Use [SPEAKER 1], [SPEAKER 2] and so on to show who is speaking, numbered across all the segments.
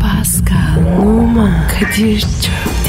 [SPEAKER 1] Pascal, Oman, Kadir çok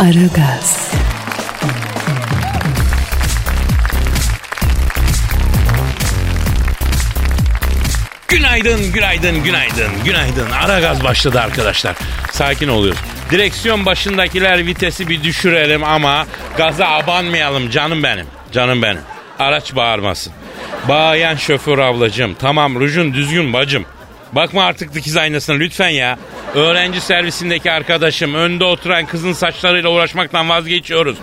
[SPEAKER 1] Aragaz,
[SPEAKER 2] Günaydın, günaydın, günaydın, günaydın. Ara gaz başladı arkadaşlar. Sakin oluyoruz. Direksiyon başındakiler vitesi bir düşürelim ama gaza abanmayalım canım benim. Canım benim. Araç bağırmasın. Bayan şoför ablacığım. Tamam rujun düzgün bacım. Bakma artık dikiz aynasına lütfen ya. Öğrenci servisindeki arkadaşım önde oturan kızın saçlarıyla uğraşmaktan vazgeçiyoruz.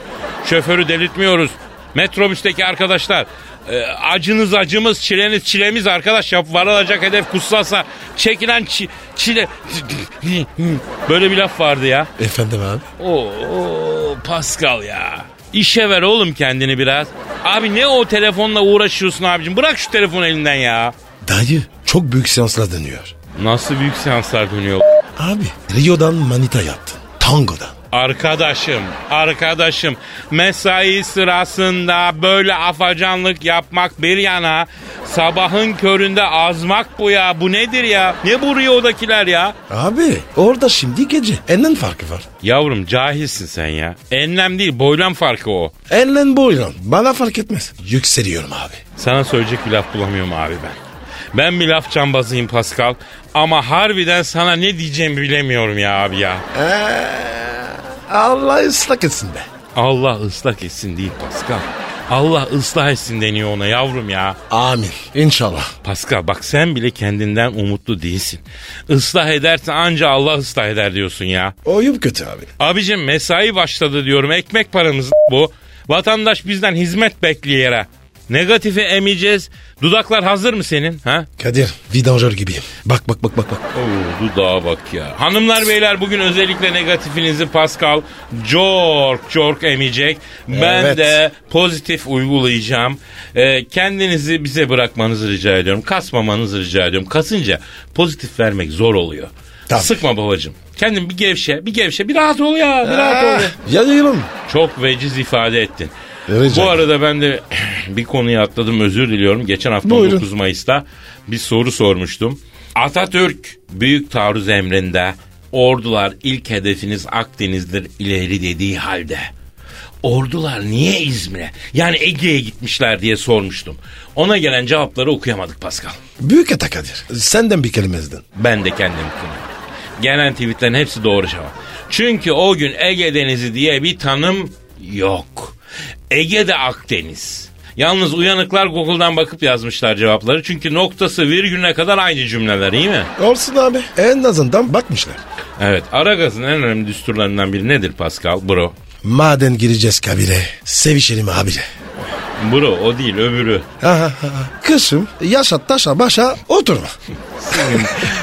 [SPEAKER 2] Şoförü delirtmiyoruz. Metrobüsteki arkadaşlar e, acınız acımız çileniz çilemiz arkadaş yap varılacak hedef kutsalsa çekilen çi- çile böyle bir laf vardı ya.
[SPEAKER 3] Efendim abi.
[SPEAKER 2] Oo Pascal ya. İşe ver oğlum kendini biraz. Abi ne o telefonla uğraşıyorsun abicim? Bırak şu telefonu elinden ya.
[SPEAKER 3] Dayı çok büyük seansla dönüyor.
[SPEAKER 2] Nasıl büyük seanslar dönüyor?
[SPEAKER 3] Abi Rio'dan manita yaptın. Tango'dan.
[SPEAKER 2] Arkadaşım, arkadaşım mesai sırasında böyle afacanlık yapmak bir yana sabahın köründe azmak bu ya bu nedir ya ne bu Rio'dakiler ya
[SPEAKER 3] Abi orada şimdi gece. Enlen farkı var.
[SPEAKER 2] Yavrum cahilsin sen ya enlem değil boylam farkı o
[SPEAKER 3] Enlen boylan. Bana fark etmez. Yükseliyorum abi.
[SPEAKER 2] Sana söyleyecek bir laf bulamıyorum abi ben ben bir laf cambazıyım Pascal ama harbiden sana ne diyeceğimi bilemiyorum ya abi ya
[SPEAKER 3] Ee, Allah ıslak etsin be.
[SPEAKER 2] Allah ıslak etsin değil Pascal Allah ıslah etsin deniyor ona yavrum ya.
[SPEAKER 3] Amin. İnşallah.
[SPEAKER 2] Pascal bak sen bile kendinden umutlu değilsin. Islah ederse anca Allah ıslah eder diyorsun ya.
[SPEAKER 3] Oyun kötü abi.
[SPEAKER 2] Abicim mesai başladı diyorum ekmek paramız bu. Vatandaş bizden hizmet bekliyor yere. Negatifi emeceğiz. Dudaklar hazır mı senin? Ha?
[SPEAKER 3] Kadir vidanjör gibiyim. Bak bak bak bak. bak.
[SPEAKER 2] Oo, dudağa bak ya. Hanımlar beyler bugün özellikle negatifinizi Pascal cork cork emecek. Ben
[SPEAKER 3] Evet.
[SPEAKER 2] de pozitif uygulayacağım. Ee, kendinizi bize bırakmanızı rica ediyorum. Kasmamanızı rica ediyorum. Kasınca pozitif vermek zor oluyor.
[SPEAKER 3] Tabii.
[SPEAKER 2] Sıkma babacığım. Kendin bir gevşe, bir gevşe, bir rahat ol ya, bir rahat ol.
[SPEAKER 3] Ee.
[SPEAKER 2] ya.
[SPEAKER 3] Yayılım.
[SPEAKER 2] Çok veciz ifade ettin.
[SPEAKER 3] Rica
[SPEAKER 2] Bu
[SPEAKER 3] ederim.
[SPEAKER 2] arada ben de bir konuya atladım özür diliyorum. Geçen hafta
[SPEAKER 3] Buyurun.
[SPEAKER 2] 19 Mayıs'ta bir soru sormuştum. Atatürk büyük taarruz emrinde ordular ilk hedefiniz Akdeniz'dir ileri dediği halde. Ordular niye İzmir'e yani Ege'ye gitmişler diye sormuştum. Ona gelen cevapları okuyamadık Pascal.
[SPEAKER 3] Büyük hata Kadir. Senden bir kelimezdin.
[SPEAKER 2] Ben de kendim kınıyorum. Gelen tweetlerin hepsi doğru cevap. Çünkü o gün Ege Denizi diye bir tanım yok. Ege'de Akdeniz. Yalnız uyanıklar Google'dan bakıp yazmışlar cevapları. Çünkü noktası virgülüne kadar aynı cümleler iyi mi?
[SPEAKER 3] Olsun abi. En azından bakmışlar.
[SPEAKER 2] Evet. Aragaz'ın en önemli düsturlarından biri nedir Pascal? Bro.
[SPEAKER 3] Maden gireceğiz kabire. Sevişelim abiyle.
[SPEAKER 2] Bro o değil öbürü.
[SPEAKER 3] Aha, aha. Kışım yaşa taşa başa oturma.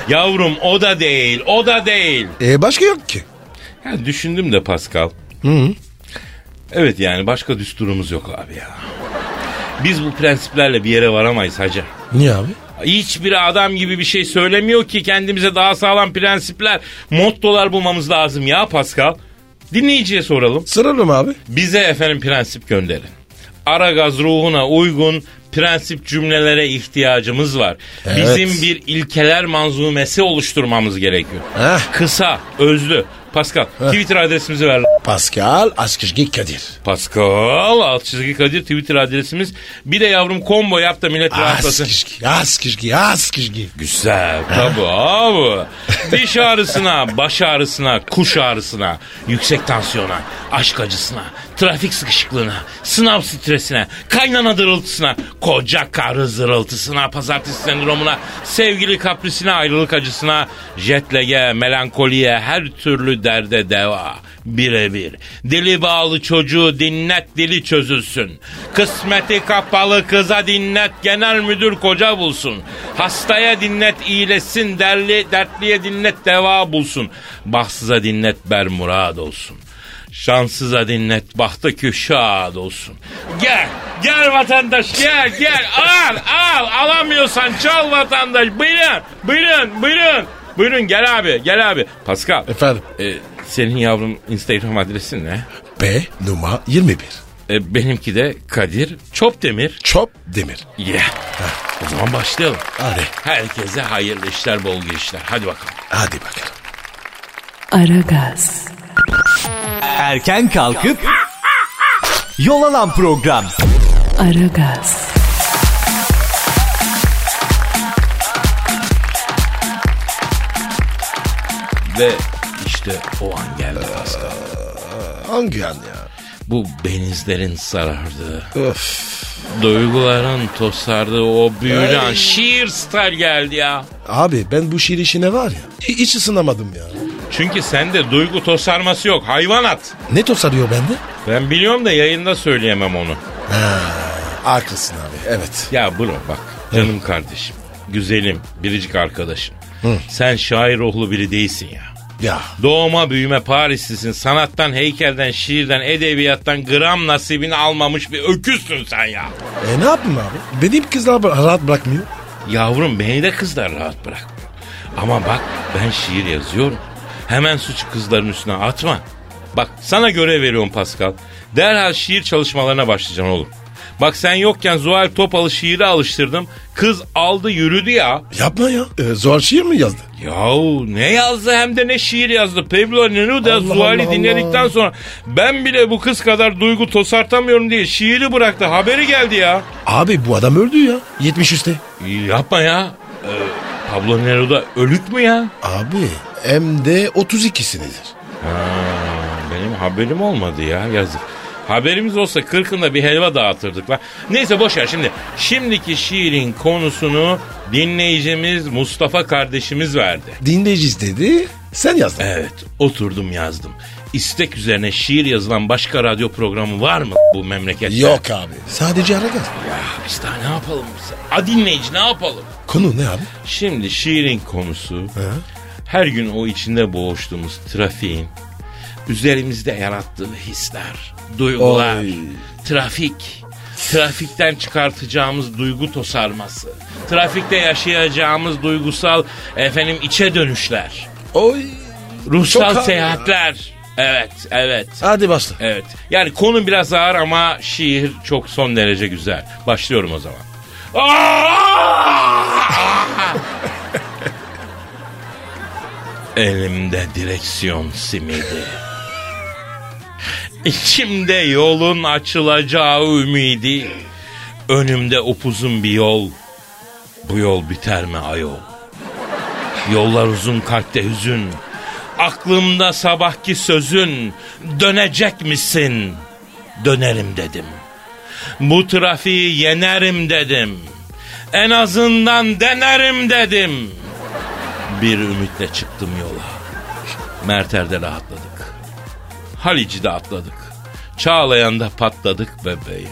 [SPEAKER 2] Yavrum o da değil o da değil.
[SPEAKER 3] E başka yok ki.
[SPEAKER 2] Ya düşündüm de Pascal. Evet yani başka düsturumuz yok abi ya. Biz bu prensiplerle bir yere varamayız hacı.
[SPEAKER 3] Niye abi?
[SPEAKER 2] Hiçbir adam gibi bir şey söylemiyor ki kendimize daha sağlam prensipler, mottolar bulmamız lazım ya Pascal. Dinleyiciye soralım.
[SPEAKER 3] Soralım abi.
[SPEAKER 2] Bize efendim prensip gönderin. Aragaz ruhuna uygun prensip cümlelere ihtiyacımız var.
[SPEAKER 3] Evet.
[SPEAKER 2] Bizim bir ilkeler manzumesi oluşturmamız gerekiyor.
[SPEAKER 3] Heh.
[SPEAKER 2] Kısa, özlü. Pascal, Twitter adresimizi ver. lan.
[SPEAKER 3] Pascal Askışgi Kadir.
[SPEAKER 2] Pascal alt çizgi Kadir Twitter adresimiz. Bir de yavrum combo yap da millet rahatlasın.
[SPEAKER 3] Askışgi, Askışgi, Askışgi.
[SPEAKER 2] Güzel tabu abi. Diş ağrısına, baş ağrısına, kuş ağrısına, yüksek tansiyona, aşk acısına, trafik sıkışıklığına, sınav stresine, kaynana dırıltısına, koca karı zırıltısına, pazartesi sendromuna, sevgili kaprisine, ayrılık acısına, jet lag'e, melankoliye, her türlü derde deva. birebir. Dili bağlı çocuğu dinlet dili çözülsün. Kısmeti kapalı kıza dinlet genel müdür koca bulsun. Hastaya dinlet iyileşsin derli, dertliye dinlet deva bulsun. Bahtsıza dinlet ber murad olsun. Şanssıza dinlet bahtı küşad olsun. Gel, gel vatandaş gel gel al al alamıyorsan çal vatandaş buyurun buyurun buyurun. Buyurun gel abi gel abi. Pascal
[SPEAKER 3] Efendim?
[SPEAKER 2] e, senin yavrum Instagram adresin ne?
[SPEAKER 3] B numara 21.
[SPEAKER 2] E, benimki de Kadir Çopdemir.
[SPEAKER 3] Çop demir.
[SPEAKER 2] Yeah. O zaman başlayalım.
[SPEAKER 3] Hadi.
[SPEAKER 2] Herkese hayırlı işler bol girişler. Hadi bakalım.
[SPEAKER 3] Hadi bakalım.
[SPEAKER 1] Aragaz,
[SPEAKER 4] Erken kalkıp yol alan program.
[SPEAKER 1] Aragaz,
[SPEAKER 2] Ve işte o an geldi Pascal.
[SPEAKER 3] Hangi an ya?
[SPEAKER 2] Bu benizlerin sarardığı,
[SPEAKER 3] Öf.
[SPEAKER 2] duyguların tosardığı o büyülen şiir star geldi ya.
[SPEAKER 3] Abi ben bu şiir işine var ya. hi- Hiç ısınamadım ya.
[SPEAKER 2] Çünkü sende duygu tosarması yok hayvanat.
[SPEAKER 3] Ne tosarıyor bende?
[SPEAKER 2] Ben biliyorum da yayında söyleyemem onu.
[SPEAKER 3] Haklısın abi evet.
[SPEAKER 2] Ya bro bak canım kardeşim, güzelim, biricik arkadaşım. Sen şair ruhlu biri değilsin ya.
[SPEAKER 3] Ya
[SPEAKER 2] Doğma büyüme Parislisin. Sanattan, heykelden, şiirden, edebiyattan gram nasibini almamış bir öküzsün sen ya.
[SPEAKER 3] e ne yapayım abi? Benim kızlar bı- rahat bırakmıyor.
[SPEAKER 2] Yavrum beni de kızlar rahat bırakmıyor. Ama bak ben şiir yazıyorum. Hemen suçu kızların üstüne atma. Bak sana görev veriyorum Pascal. Derhal şiir çalışmalarına başlayacaksın oğlum. Bak sen yokken Zuhal Topal'ı şiire alıştırdım. Kız aldı yürüdü ya.
[SPEAKER 3] Yapma ya. E, zor şiir mi yazdı?
[SPEAKER 2] Yahu ne yazdı hem de ne şiir yazdı. Pablo Neruda
[SPEAKER 3] Allah
[SPEAKER 2] Zuhal'i
[SPEAKER 3] Allah
[SPEAKER 2] dinledikten
[SPEAKER 3] Allah.
[SPEAKER 2] sonra ben bile bu kız kadar duygu tosartamıyorum diye şiiri bıraktı. Haberi geldi ya.
[SPEAKER 3] Abi bu adam öldü ya. 70 üstte.
[SPEAKER 2] Yapma ya. Ee, Pablo Neruda ölük mü ya?
[SPEAKER 3] Abi hem de 32'sinidir.
[SPEAKER 2] Benim haberim olmadı ya yazık. Haberimiz olsa kırkında bir helva dağıtırdık lan. Neyse boş ver şimdi. Şimdiki şiirin konusunu dinleyicimiz Mustafa kardeşimiz verdi.
[SPEAKER 3] Dinleyiciz dedi. Sen yazdın.
[SPEAKER 2] Evet oturdum yazdım. İstek üzerine şiir yazılan başka radyo programı var mı bu memlekette?
[SPEAKER 3] Yok abi. Sadece ara gaz.
[SPEAKER 2] Ya biz daha ne yapalım biz? A dinleyici ne yapalım?
[SPEAKER 3] Konu ne abi?
[SPEAKER 2] Şimdi şiirin konusu her gün o içinde boğuştuğumuz trafiğin üzerimizde yarattığı hisler, duygular,
[SPEAKER 3] Oy.
[SPEAKER 2] trafik, trafikten çıkartacağımız duygu tosarması, trafikte yaşayacağımız duygusal efendim içe dönüşler,
[SPEAKER 3] Oy.
[SPEAKER 2] ruhsal
[SPEAKER 3] Çok ağır
[SPEAKER 2] seyahatler. Evet, evet.
[SPEAKER 3] Hadi başla.
[SPEAKER 2] Evet. Yani konu biraz ağır ama şiir çok son derece güzel. Başlıyorum o zaman. Elimde direksiyon simidi. İçimde yolun açılacağı ümidi. Önümde upuzun bir yol. Bu yol biter mi ayol? Yollar uzun kalpte hüzün. Aklımda sabahki sözün. Dönecek misin? Dönerim dedim. Bu trafiği yenerim dedim. En azından denerim dedim. Bir ümitle çıktım yola. Merter'de rahatladık. Halici de atladık. Çağlayan'da patladık bebeğim.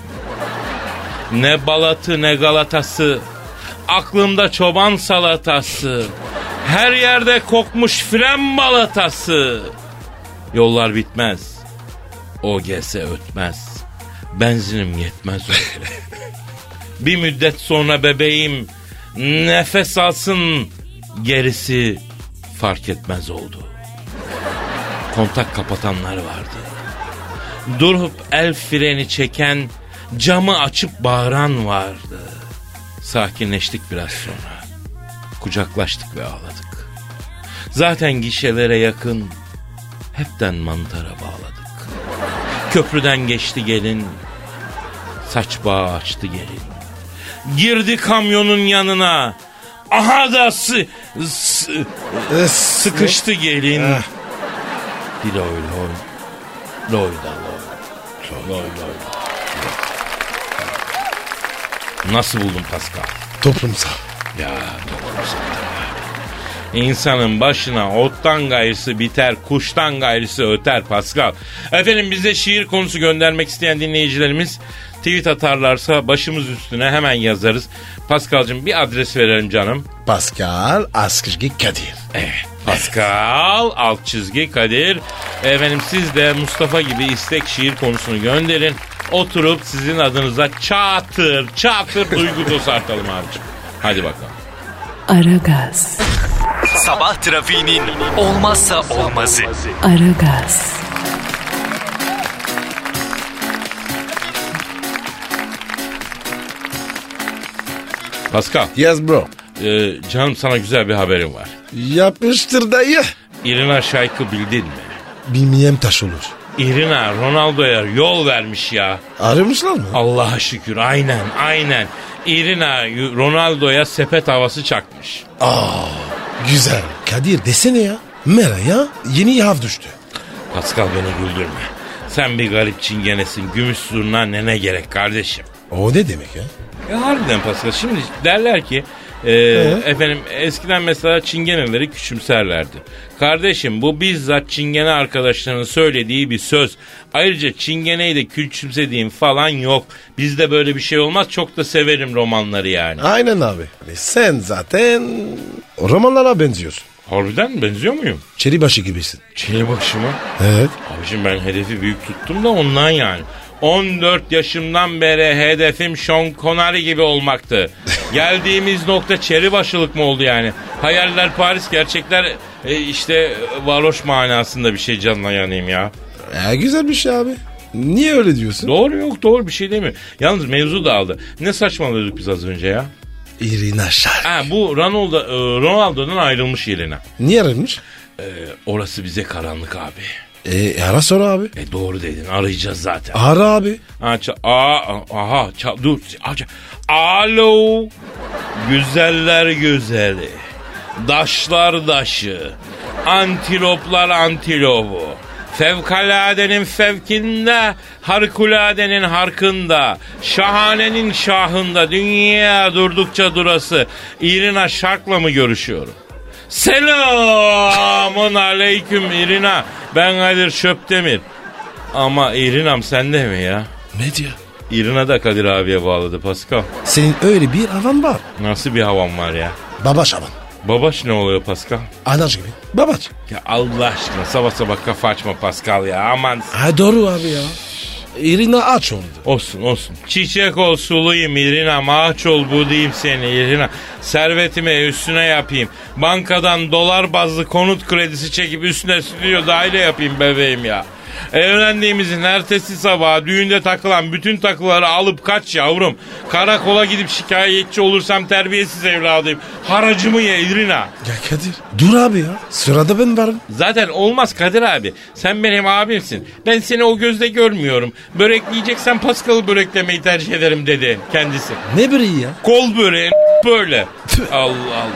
[SPEAKER 2] Ne Balat'ı ne Galata'sı. Aklımda çoban salatası. Her yerde kokmuş fren balatası. Yollar bitmez. OGS ötmez. Benzinim yetmez. oldu. Bir müddet sonra bebeğim nefes alsın gerisi fark etmez oldu. Kontak kapatanlar vardı. Durup el freni çeken, camı açıp bağıran vardı. Sakinleştik biraz sonra. Kucaklaştık ve ağladık. Zaten gişelere yakın hepten mantara bağladık. Köprüden geçti gelin, saç bağı açtı gelin. Girdi kamyonun yanına. Aha da sı- sı-
[SPEAKER 3] Ee,
[SPEAKER 2] sıkıştı gelin.
[SPEAKER 3] Ah.
[SPEAKER 2] Diloy loy. Loy da loy. Loy loy. Nasıl buldun Pascal?
[SPEAKER 3] Toplumsal.
[SPEAKER 2] Ya doğru zaten abi. İnsanın başına ottan gayrısı biter, kuştan gayrısı öter Pascal. Efendim bize şiir konusu göndermek isteyen dinleyicilerimiz tweet atarlarsa başımız üstüne hemen yazarız. Pascal'cığım bir adres verelim canım.
[SPEAKER 3] Pascal Askışgi Kadir.
[SPEAKER 2] Evet. Eh, Pascal alt çizgi Kadir. Efendim siz de Mustafa gibi istek şiir konusunu gönderin. Oturup sizin adınıza çatır çatır duygu tosartalım abicim. Hadi bakalım.
[SPEAKER 1] Aragaz,
[SPEAKER 4] Sabah trafiğinin olmazsa olmazı.
[SPEAKER 1] Aragaz,
[SPEAKER 2] Pascal,
[SPEAKER 3] Yes bro.
[SPEAKER 2] e, canım sana güzel bir haberim var.
[SPEAKER 3] Yapıştır dayı.
[SPEAKER 2] Irina Şayk'ı bildin mi?
[SPEAKER 3] Bilmeyem taş olur.
[SPEAKER 2] Irina Ronaldo'ya yol vermiş ya.
[SPEAKER 3] Aramışlar mı?
[SPEAKER 2] Allah'a şükür aynen aynen. Irina Ronaldo'ya sepet havası çakmış.
[SPEAKER 3] Güzel. Kadir desene ya. Mera'ya yeni yav düştü.
[SPEAKER 2] Pascal beni güldürme. Sen bir garip çingenesin. Gümüş zurna nene gerek kardeşim.
[SPEAKER 3] O ne demek ya?
[SPEAKER 2] Ya harbiden Pascal. Şimdi derler ki e, efendim eskiden mesela çingeneleri küçümserlerdi. Kardeşim bu bizzat çingene arkadaşlarının söylediği bir söz. Ayrıca çingeneyi de küçümsediğim falan yok. Bizde böyle bir şey olmaz. Çok da severim romanları yani.
[SPEAKER 3] Aynen abi. E sen zaten romanlara benziyorsun.
[SPEAKER 2] Harbiden mi? benziyor muyum?
[SPEAKER 3] Çelibaşı gibisin.
[SPEAKER 2] Çeli başıma.
[SPEAKER 3] Evet.
[SPEAKER 2] Abicim ben hedefi büyük tuttum da ondan yani. 14 yaşımdan beri hedefim Sean Connery gibi olmaktı. Geldiğimiz nokta çeri başılık mı oldu yani? Hayaller Paris, gerçekler e, işte e, varoş manasında bir şey canına yanayım ya.
[SPEAKER 3] E, güzel bir şey abi. Niye öyle diyorsun?
[SPEAKER 2] Doğru yok doğru bir şey değil mi? Yalnız mevzu dağıldı. Ne saçmalıyorduk biz az önce ya?
[SPEAKER 3] Irina Şar.
[SPEAKER 2] Ha bu Ronaldo, e, Ronaldo'dan ayrılmış yerine. E,
[SPEAKER 3] Niye aramış?
[SPEAKER 2] Orası bize karanlık abi.
[SPEAKER 3] E, ara sonra abi.
[SPEAKER 2] E doğru dedin arayacağız zaten.
[SPEAKER 3] Ara abi.
[SPEAKER 2] Ha, ça- Aa, aha ça- dur. Aç- Alo. Güzeller güzeli. Daşlar daşı. Antiloplar antilobu. Fevkaladenin fevkinde, harikuladenin harkında, şahanenin şahında, dünya durdukça durası. İrina Şark'la mı görüşüyorum? Selamun aleyküm İrina. Ben Kadir Şöpdemir. Ama İrinam sende mi ya?
[SPEAKER 3] Ne diyor?
[SPEAKER 2] İrina da Kadir abiye bağladı Pascal.
[SPEAKER 3] Senin öyle bir havan var.
[SPEAKER 2] Nasıl bir havan var ya?
[SPEAKER 3] Baba şaban.
[SPEAKER 2] Babaş ne oluyor Pascal?
[SPEAKER 3] Anaç gibi. Babaç.
[SPEAKER 2] Ya Allah aşkına sabah sabah kafa açma Pascal ya aman. s-
[SPEAKER 3] Ha doğru abi ya. Irina aç oldu.
[SPEAKER 2] Olsun olsun. Çiçek ol suluyum İrina. Maç ol bu diyeyim seni İrina. Servetimi üstüne yapayım. Bankadan dolar bazlı konut kredisi çekip üstüne stüdyo daire yapayım bebeğim ya. Evlendiğimizin ertesi sabahı düğünde takılan bütün takıları alıp kaç yavrum. Karakola gidip şikayetçi olursam terbiyesiz evladıyım. Haracımı ye İrina.
[SPEAKER 3] Ya Kadir. Dur abi ya. Sırada ben varım.
[SPEAKER 2] Zaten olmaz Kadir abi. Sen benim abimsin. Ben seni o gözle görmüyorum. Börek yiyeceksen Paskal'ı böreklemeyi tercih ederim dedi kendisi.
[SPEAKER 3] Ne biri ya?
[SPEAKER 2] Kol böreği böyle. Allah Allah.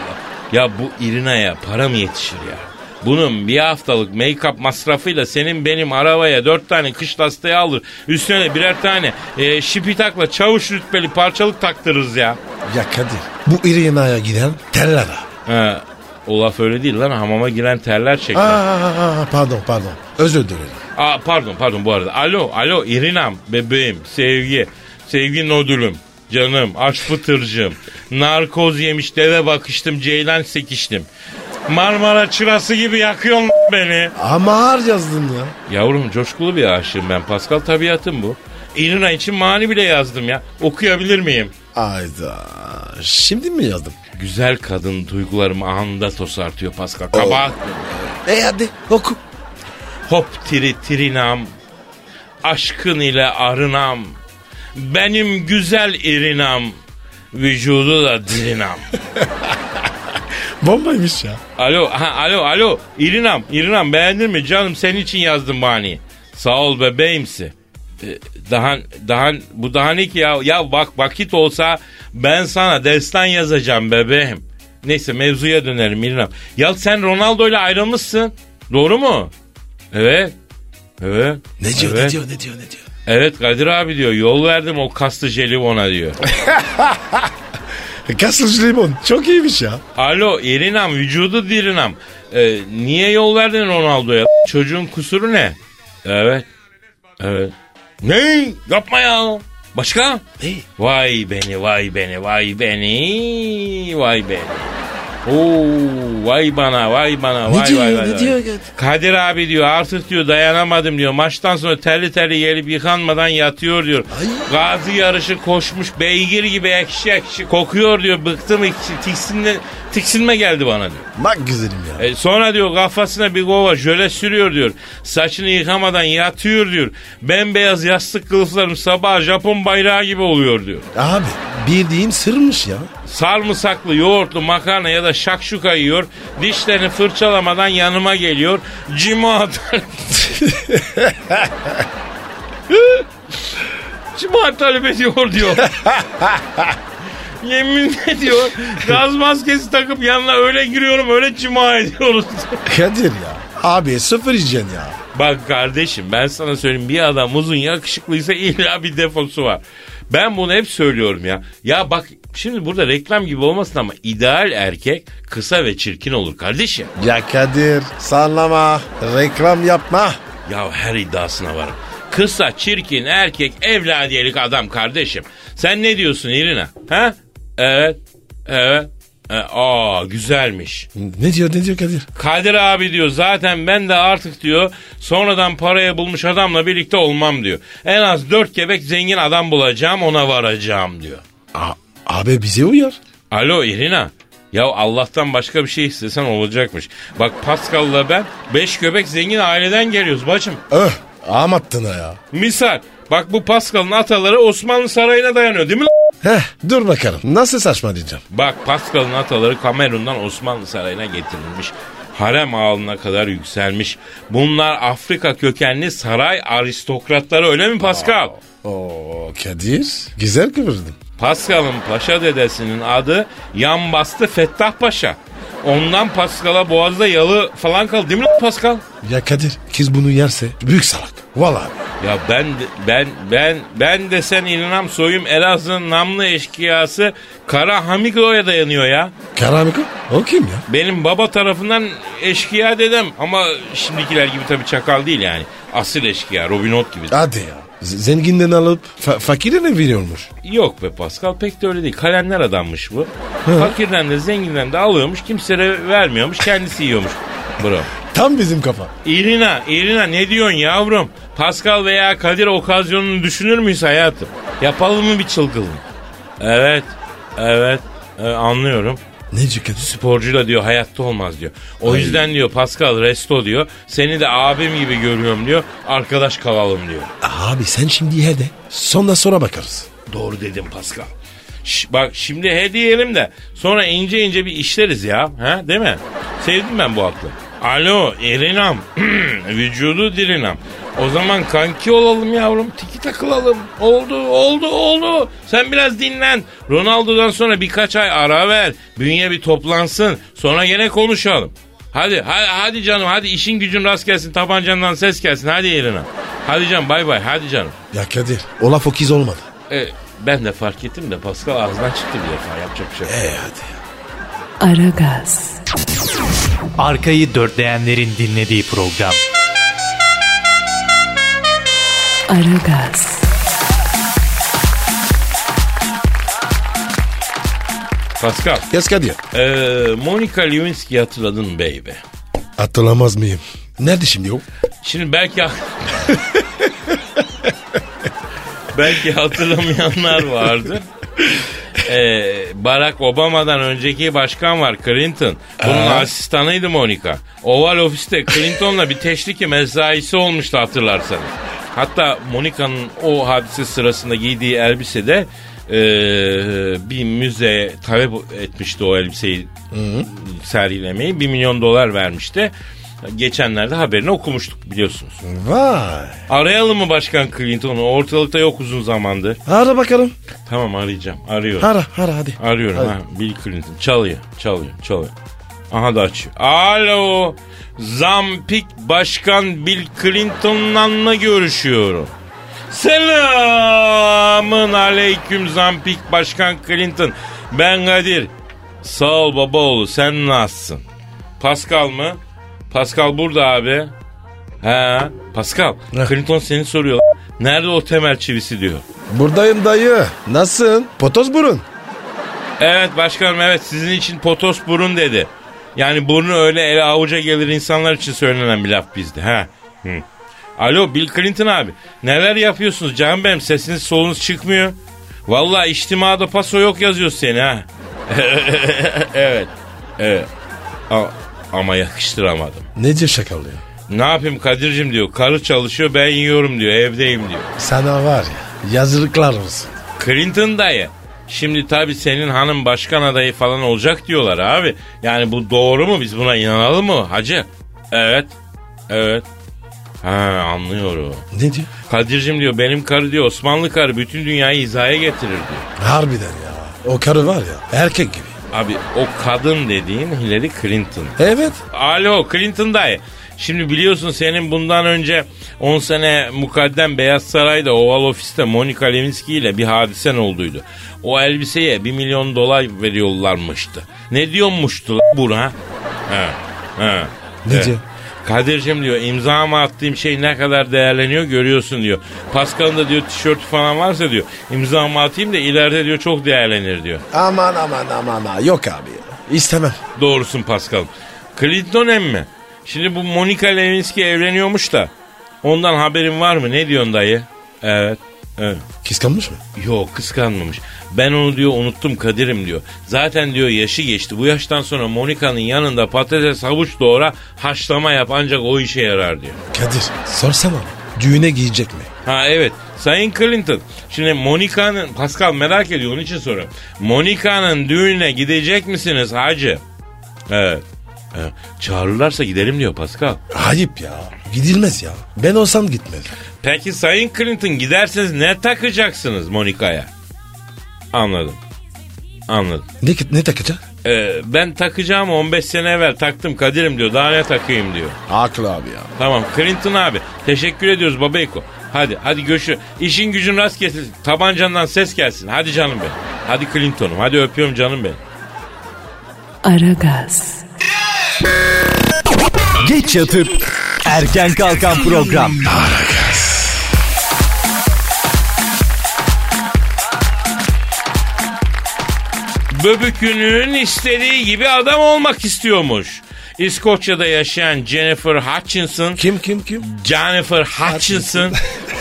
[SPEAKER 2] Ya bu İrina'ya para mı yetişir ya? Bunun bir haftalık make-up masrafıyla senin benim arabaya dört tane kış lastiği alır. Üstüne de birer tane e, şipitakla çavuş rütbeli parçalık taktırırız ya.
[SPEAKER 3] Ya Kadir. Bu Irina'ya giden terler abi.
[SPEAKER 2] Ha, o laf öyle değil lan hamama giren terler çeker.
[SPEAKER 3] Aa, pardon pardon. Özür dilerim.
[SPEAKER 2] Aa, pardon pardon bu arada. Alo alo İrinam bebeğim sevgi. Sevgi nodülüm. Canım aç fıtırcım. Narkoz yemiş deve bakıştım ceylan sekiştim. Marmara çırası gibi yakıyorsun beni.
[SPEAKER 3] Ama ağır yazdın ya.
[SPEAKER 2] Yavrum coşkulu bir aşığım ben. Pascal tabiatım bu. İrina için mani bile yazdım ya. Okuyabilir miyim?
[SPEAKER 3] Ayda. Şimdi mi yazdım?
[SPEAKER 2] Güzel kadın duygularımı anında tosartıyor Pascal. Kabahat mı?
[SPEAKER 3] E hadi oku.
[SPEAKER 2] Hop tiri tirinam, aşkın ile arınam, benim güzel irinam, vücudu da dirinam.
[SPEAKER 3] Bombaymış ya.
[SPEAKER 2] alo, ha, alo, alo, irinam, irinam beğendin mi canım senin için yazdım bani. Sağ ol bebeğimsi. Ee, Daha, daha, bu daha ne ki ya? Ya bak vakit olsa ben sana destan yazacağım bebeğim. Neyse mevzuya dönelim İrinam. Ya sen Ronaldo ile ayrılmışsın. Doğru mu? Evet. Evet.
[SPEAKER 3] Ne diyor
[SPEAKER 2] Evet.
[SPEAKER 3] ne diyor ne diyor ne diyor.
[SPEAKER 2] Evet Kadir abi diyor yol verdim o kaslı jelibona diyor.
[SPEAKER 3] Kasılç limon. E, Çok iyiymiş ya.
[SPEAKER 2] Alo Elinam vücudu dirinam. Ee, niye yol verdin Ronaldo'ya? Çocuğun kusuru ne? Evet. Evet. Ne? Yapma ya. Başka?
[SPEAKER 3] Ne?
[SPEAKER 2] Vay beni vay beni vay beni vay beni. Oo, vay bana vay bana
[SPEAKER 3] Ne
[SPEAKER 2] vay
[SPEAKER 3] diyor
[SPEAKER 2] vay
[SPEAKER 3] ya,
[SPEAKER 2] vay.
[SPEAKER 3] ne
[SPEAKER 2] vay.
[SPEAKER 3] diyor ya?
[SPEAKER 2] Kadir abi diyor artık diyor dayanamadım diyor. Maçtan sonra terli terli gelip yıkanmadan yatıyor diyor.
[SPEAKER 3] Ay.
[SPEAKER 2] Gazi yarışı koşmuş beygir gibi ekşi ekşi kokuyor diyor. Bıktım ekşi tiksinme, tiksinme geldi bana diyor.
[SPEAKER 3] Bak güzelim ya.
[SPEAKER 2] E, sonra diyor kafasına bir kova jöle sürüyor diyor. Saçını yıkamadan yatıyor diyor. Bembeyaz yastık kılıflarım sabah Japon bayrağı gibi oluyor diyor.
[SPEAKER 3] Abi bildiğin sırmış ya.
[SPEAKER 2] Sarımsaklı, yoğurtlu makarna ya da şakşuka yiyor. Dişlerini fırçalamadan yanıma geliyor. Cima atar. Cima talep ediyor diyor. Yemin ediyor. Gaz maskesi takıp yanına öyle giriyorum öyle cima ediyoruz.
[SPEAKER 3] Kadir ya. Abi sıfır yiyeceksin ya.
[SPEAKER 2] Bak kardeşim ben sana söyleyeyim bir adam uzun yakışıklıysa illa bir defosu var. Ben bunu hep söylüyorum ya. Ya bak şimdi burada reklam gibi olmasın ama ideal erkek kısa ve çirkin olur kardeşim.
[SPEAKER 3] Ya Kadir sallama. Reklam yapma.
[SPEAKER 2] Ya her iddiasına varım. Kısa, çirkin, erkek, evladiyelik adam kardeşim. Sen ne diyorsun İrina? Ha? Evet, evet. E, Aa güzelmiş.
[SPEAKER 3] Ne diyor ne diyor Kadir?
[SPEAKER 2] Kadir abi diyor zaten ben de artık diyor sonradan paraya bulmuş adamla birlikte olmam diyor. En az dört gebek zengin adam bulacağım ona varacağım diyor.
[SPEAKER 3] A- abi bize uyar.
[SPEAKER 2] Alo İrina. Ya Allah'tan başka bir şey istesen olacakmış. Bak Pascal'la ben beş göbek zengin aileden geliyoruz bacım.
[SPEAKER 3] Öh. Amattına ya.
[SPEAKER 2] Misal bak bu Pascal'ın ataları Osmanlı Sarayı'na dayanıyor değil mi? lan?
[SPEAKER 3] Heh dur bakalım. Nasıl saçma diyeceğim.
[SPEAKER 2] Bak Pascal'ın ataları Kamerun'dan Osmanlı Sarayı'na getirilmiş. Harem ağalına kadar yükselmiş. Bunlar Afrika kökenli saray aristokratları öyle mi Pascal?
[SPEAKER 3] Oo Kadir. Güzel kıvırdın.
[SPEAKER 2] Pascal'ın paşa dedesinin adı yan bastı Fettah Paşa. Ondan Pascal'a boğazda yalı falan kaldı değil mi lan Pascal?
[SPEAKER 3] Ya Kadir kız bunu yerse büyük salak. Vallahi.
[SPEAKER 2] Ya ben de- ben ben ben de sen İlham Soyum Elazığ'ın namlı eşkıyası Kara Hamigo'ya dayanıyor ya.
[SPEAKER 3] Karamiko o kim ya?
[SPEAKER 2] Benim baba tarafından eşkıya dedem ama şimdikiler gibi tabii çakal değil yani. Asıl eşkıya Robin Hood gibi.
[SPEAKER 3] Hadi ya. Z- Zenginden alıp fa- fakire mi veriyormuş?
[SPEAKER 2] Yok be Pascal pek de öyle değil. Kalenler adammış bu. Fakirden de zenginden de alıyormuş kimseye vermiyormuş kendisi yiyormuş. Bro.
[SPEAKER 3] Tam bizim kafa.
[SPEAKER 2] İrina, İrina ne diyorsun yavrum? Pascal veya Kadir okazyonunu düşünür müyüz hayatım? Yapalım mı bir çılgınlık? Evet, evet, e, anlıyorum.
[SPEAKER 3] Ne diyor Kadir?
[SPEAKER 2] Sporcuyla diyor hayatta olmaz diyor. O yüzden diyor Pascal resto diyor. Seni de abim gibi görüyorum diyor. Arkadaş kalalım diyor.
[SPEAKER 3] Abi sen şimdi ye de. Sonra sonra bakarız.
[SPEAKER 2] Doğru dedim Pascal. Ş- bak şimdi he diyelim de sonra ince ince bir işleriz ya. Ha, değil mi? Sevdim ben bu aklı. Alo Erinam. Vücudu dirinam. O zaman kanki olalım yavrum. Tiki takılalım. Oldu oldu oldu. Sen biraz dinlen. Ronaldo'dan sonra birkaç ay ara ver. Bünye bir toplansın. Sonra gene konuşalım. Hadi hadi, hadi canım hadi işin gücün rast gelsin. Tabancandan ses gelsin. Hadi Erinam. Hadi canım bay bay hadi canım.
[SPEAKER 3] Ya Kadir o laf o kız olmadı.
[SPEAKER 2] E, ben de fark ettim de Pascal ağzından çıktı bir defa yapacak bir şey. yok.
[SPEAKER 3] E hadi.
[SPEAKER 1] Aragaz,
[SPEAKER 4] Arkayı dörtleyenlerin dinlediği program.
[SPEAKER 1] Aragaz,
[SPEAKER 2] Pascal,
[SPEAKER 3] Yes Kadir.
[SPEAKER 2] e, Monica Lewinsky hatırladın mı baby?
[SPEAKER 3] Atılamaz mıyım? Nerede şimdi o?
[SPEAKER 2] Şimdi belki belki hatırlamayanlar vardır. E, Barack Obama'dan önceki başkan var Clinton. Bunun asistanıydı Monica. Oval ofiste Clinton'la bir teşriki mesaisi olmuştu hatırlarsanız. Hatta Monica'nın o hadise sırasında giydiği elbisede e, bir müze talep etmişti o elbiseyi sergilemeyi. 1 milyon dolar vermişti. Geçenlerde haberini okumuştuk biliyorsunuz.
[SPEAKER 3] Vay.
[SPEAKER 2] Arayalım mı Başkan Clinton'u? Ortalıkta yok uzun zamandır.
[SPEAKER 3] Ara bakalım.
[SPEAKER 2] Tamam arayacağım. Arıyorum.
[SPEAKER 3] Ara ara hadi.
[SPEAKER 2] Arıyorum ha. Bill Clinton. Çalıyor, çalıyor, çalıyor. Aha da açıyor. Alo. Zampik Başkan Bill Clinton'la mı görüşüyorum? Selamın aleyküm Zampik Başkan Clinton. Ben Kadir. Sağ ol babaoğlu sen nasılsın? Pascal mı? Pascal burada abi. He Pascal.
[SPEAKER 3] Heh.
[SPEAKER 2] Clinton seni soruyor. Nerede o temel çivisi diyor.
[SPEAKER 3] Buradayım dayı. Nasılsın? Potos burun.
[SPEAKER 2] Evet başkanım evet sizin için potos burun dedi. Yani burnu öyle ele avuca gelir insanlar için söylenen bir laf bizde. Ha. Hı. Alo Bill Clinton abi neler yapıyorsunuz canım benim sesiniz solunuz çıkmıyor. Vallahi içtimada paso yok yazıyor seni ha. evet. Evet. A- ama yakıştıramadım.
[SPEAKER 3] Nece şaka oluyor?
[SPEAKER 2] Ne yapayım Kadir'cim diyor. Karı çalışıyor ben yiyorum diyor evdeyim diyor.
[SPEAKER 3] Sana var ya yazılıklar olsun.
[SPEAKER 2] Clinton dayı. Şimdi tabii senin hanım başkan adayı falan olacak diyorlar abi. Yani bu doğru mu? Biz buna inanalım mı hacı? Evet. Evet. Ha anlıyorum.
[SPEAKER 3] Ne diyor?
[SPEAKER 2] Kadir'cim diyor benim karı diyor Osmanlı karı bütün dünyayı izaya getirir diyor.
[SPEAKER 3] Harbiden ya. O karı var ya erkek gibi.
[SPEAKER 2] Abi o kadın dediğin Hillary Clinton.
[SPEAKER 3] Evet.
[SPEAKER 2] Alo Clinton dayı. Şimdi biliyorsun senin bundan önce 10 sene mukaddem Beyaz Saray'da Oval Ofis'te Monica Lewinsky ile bir hadisen olduydu. O elbiseye 1 milyon dolar veriyorlarmıştı. Ne diyormuştu lan buna? He, he.
[SPEAKER 3] Ne
[SPEAKER 2] Evet.
[SPEAKER 3] diyor?
[SPEAKER 2] Eh, Kadir'cim diyor imzama attığım şey ne kadar değerleniyor görüyorsun diyor. Pascal'ın da diyor tişörtü falan varsa diyor imzama atayım da ileride diyor çok değerlenir diyor.
[SPEAKER 3] Aman aman aman. ha, Yok abi ya. İstemem.
[SPEAKER 2] Doğrusun Pascal. Clinton emmi. Şimdi bu Monica Lewinsky evleniyormuş da. Ondan haberin var mı? Ne diyorsun dayı? Evet. Evet.
[SPEAKER 3] Kıskanmış mı?
[SPEAKER 2] Yok kıskanmamış. Ben onu diyor unuttum Kadir'im diyor. Zaten diyor yaşı geçti. Bu yaştan sonra Monica'nın yanında patates havuç doğra haşlama yap ancak o işe yarar diyor.
[SPEAKER 3] Kadir sorsana. Düğüne giyecek mi?
[SPEAKER 2] Ha evet. Sayın Clinton. Şimdi Monica'nın Pascal merak ediyor onun için soruyorum. Monica'nın düğününe gidecek misiniz hacı? Evet. Evet. Çağırırlarsa gidelim diyor Pascal.
[SPEAKER 3] Ayıp ya. Gidilmez ya. Ben olsam gitmez.
[SPEAKER 2] Peki Sayın Clinton giderseniz ne takacaksınız Monica'ya? Anladım. Anladım.
[SPEAKER 3] Ne, ne takacak?
[SPEAKER 2] Ee, ben takacağım 15 sene evvel taktım Kadir'im diyor. Daha ne takayım diyor.
[SPEAKER 3] Haklı abi ya.
[SPEAKER 2] Tamam Clinton abi teşekkür ediyoruz babayko. Hadi hadi görüşürüz. İşin gücün rast gelsin. Tabancandan ses gelsin. Hadi canım benim. Hadi Clinton'um. Hadi öpüyorum canım benim.
[SPEAKER 1] Aragaz,
[SPEAKER 4] Geç yatıp erken kalkan program.
[SPEAKER 2] Böbükünün istediği gibi adam olmak istiyormuş. İskoçya'da yaşayan Jennifer Hutchinson
[SPEAKER 3] Kim kim kim?
[SPEAKER 2] Jennifer Hutchinson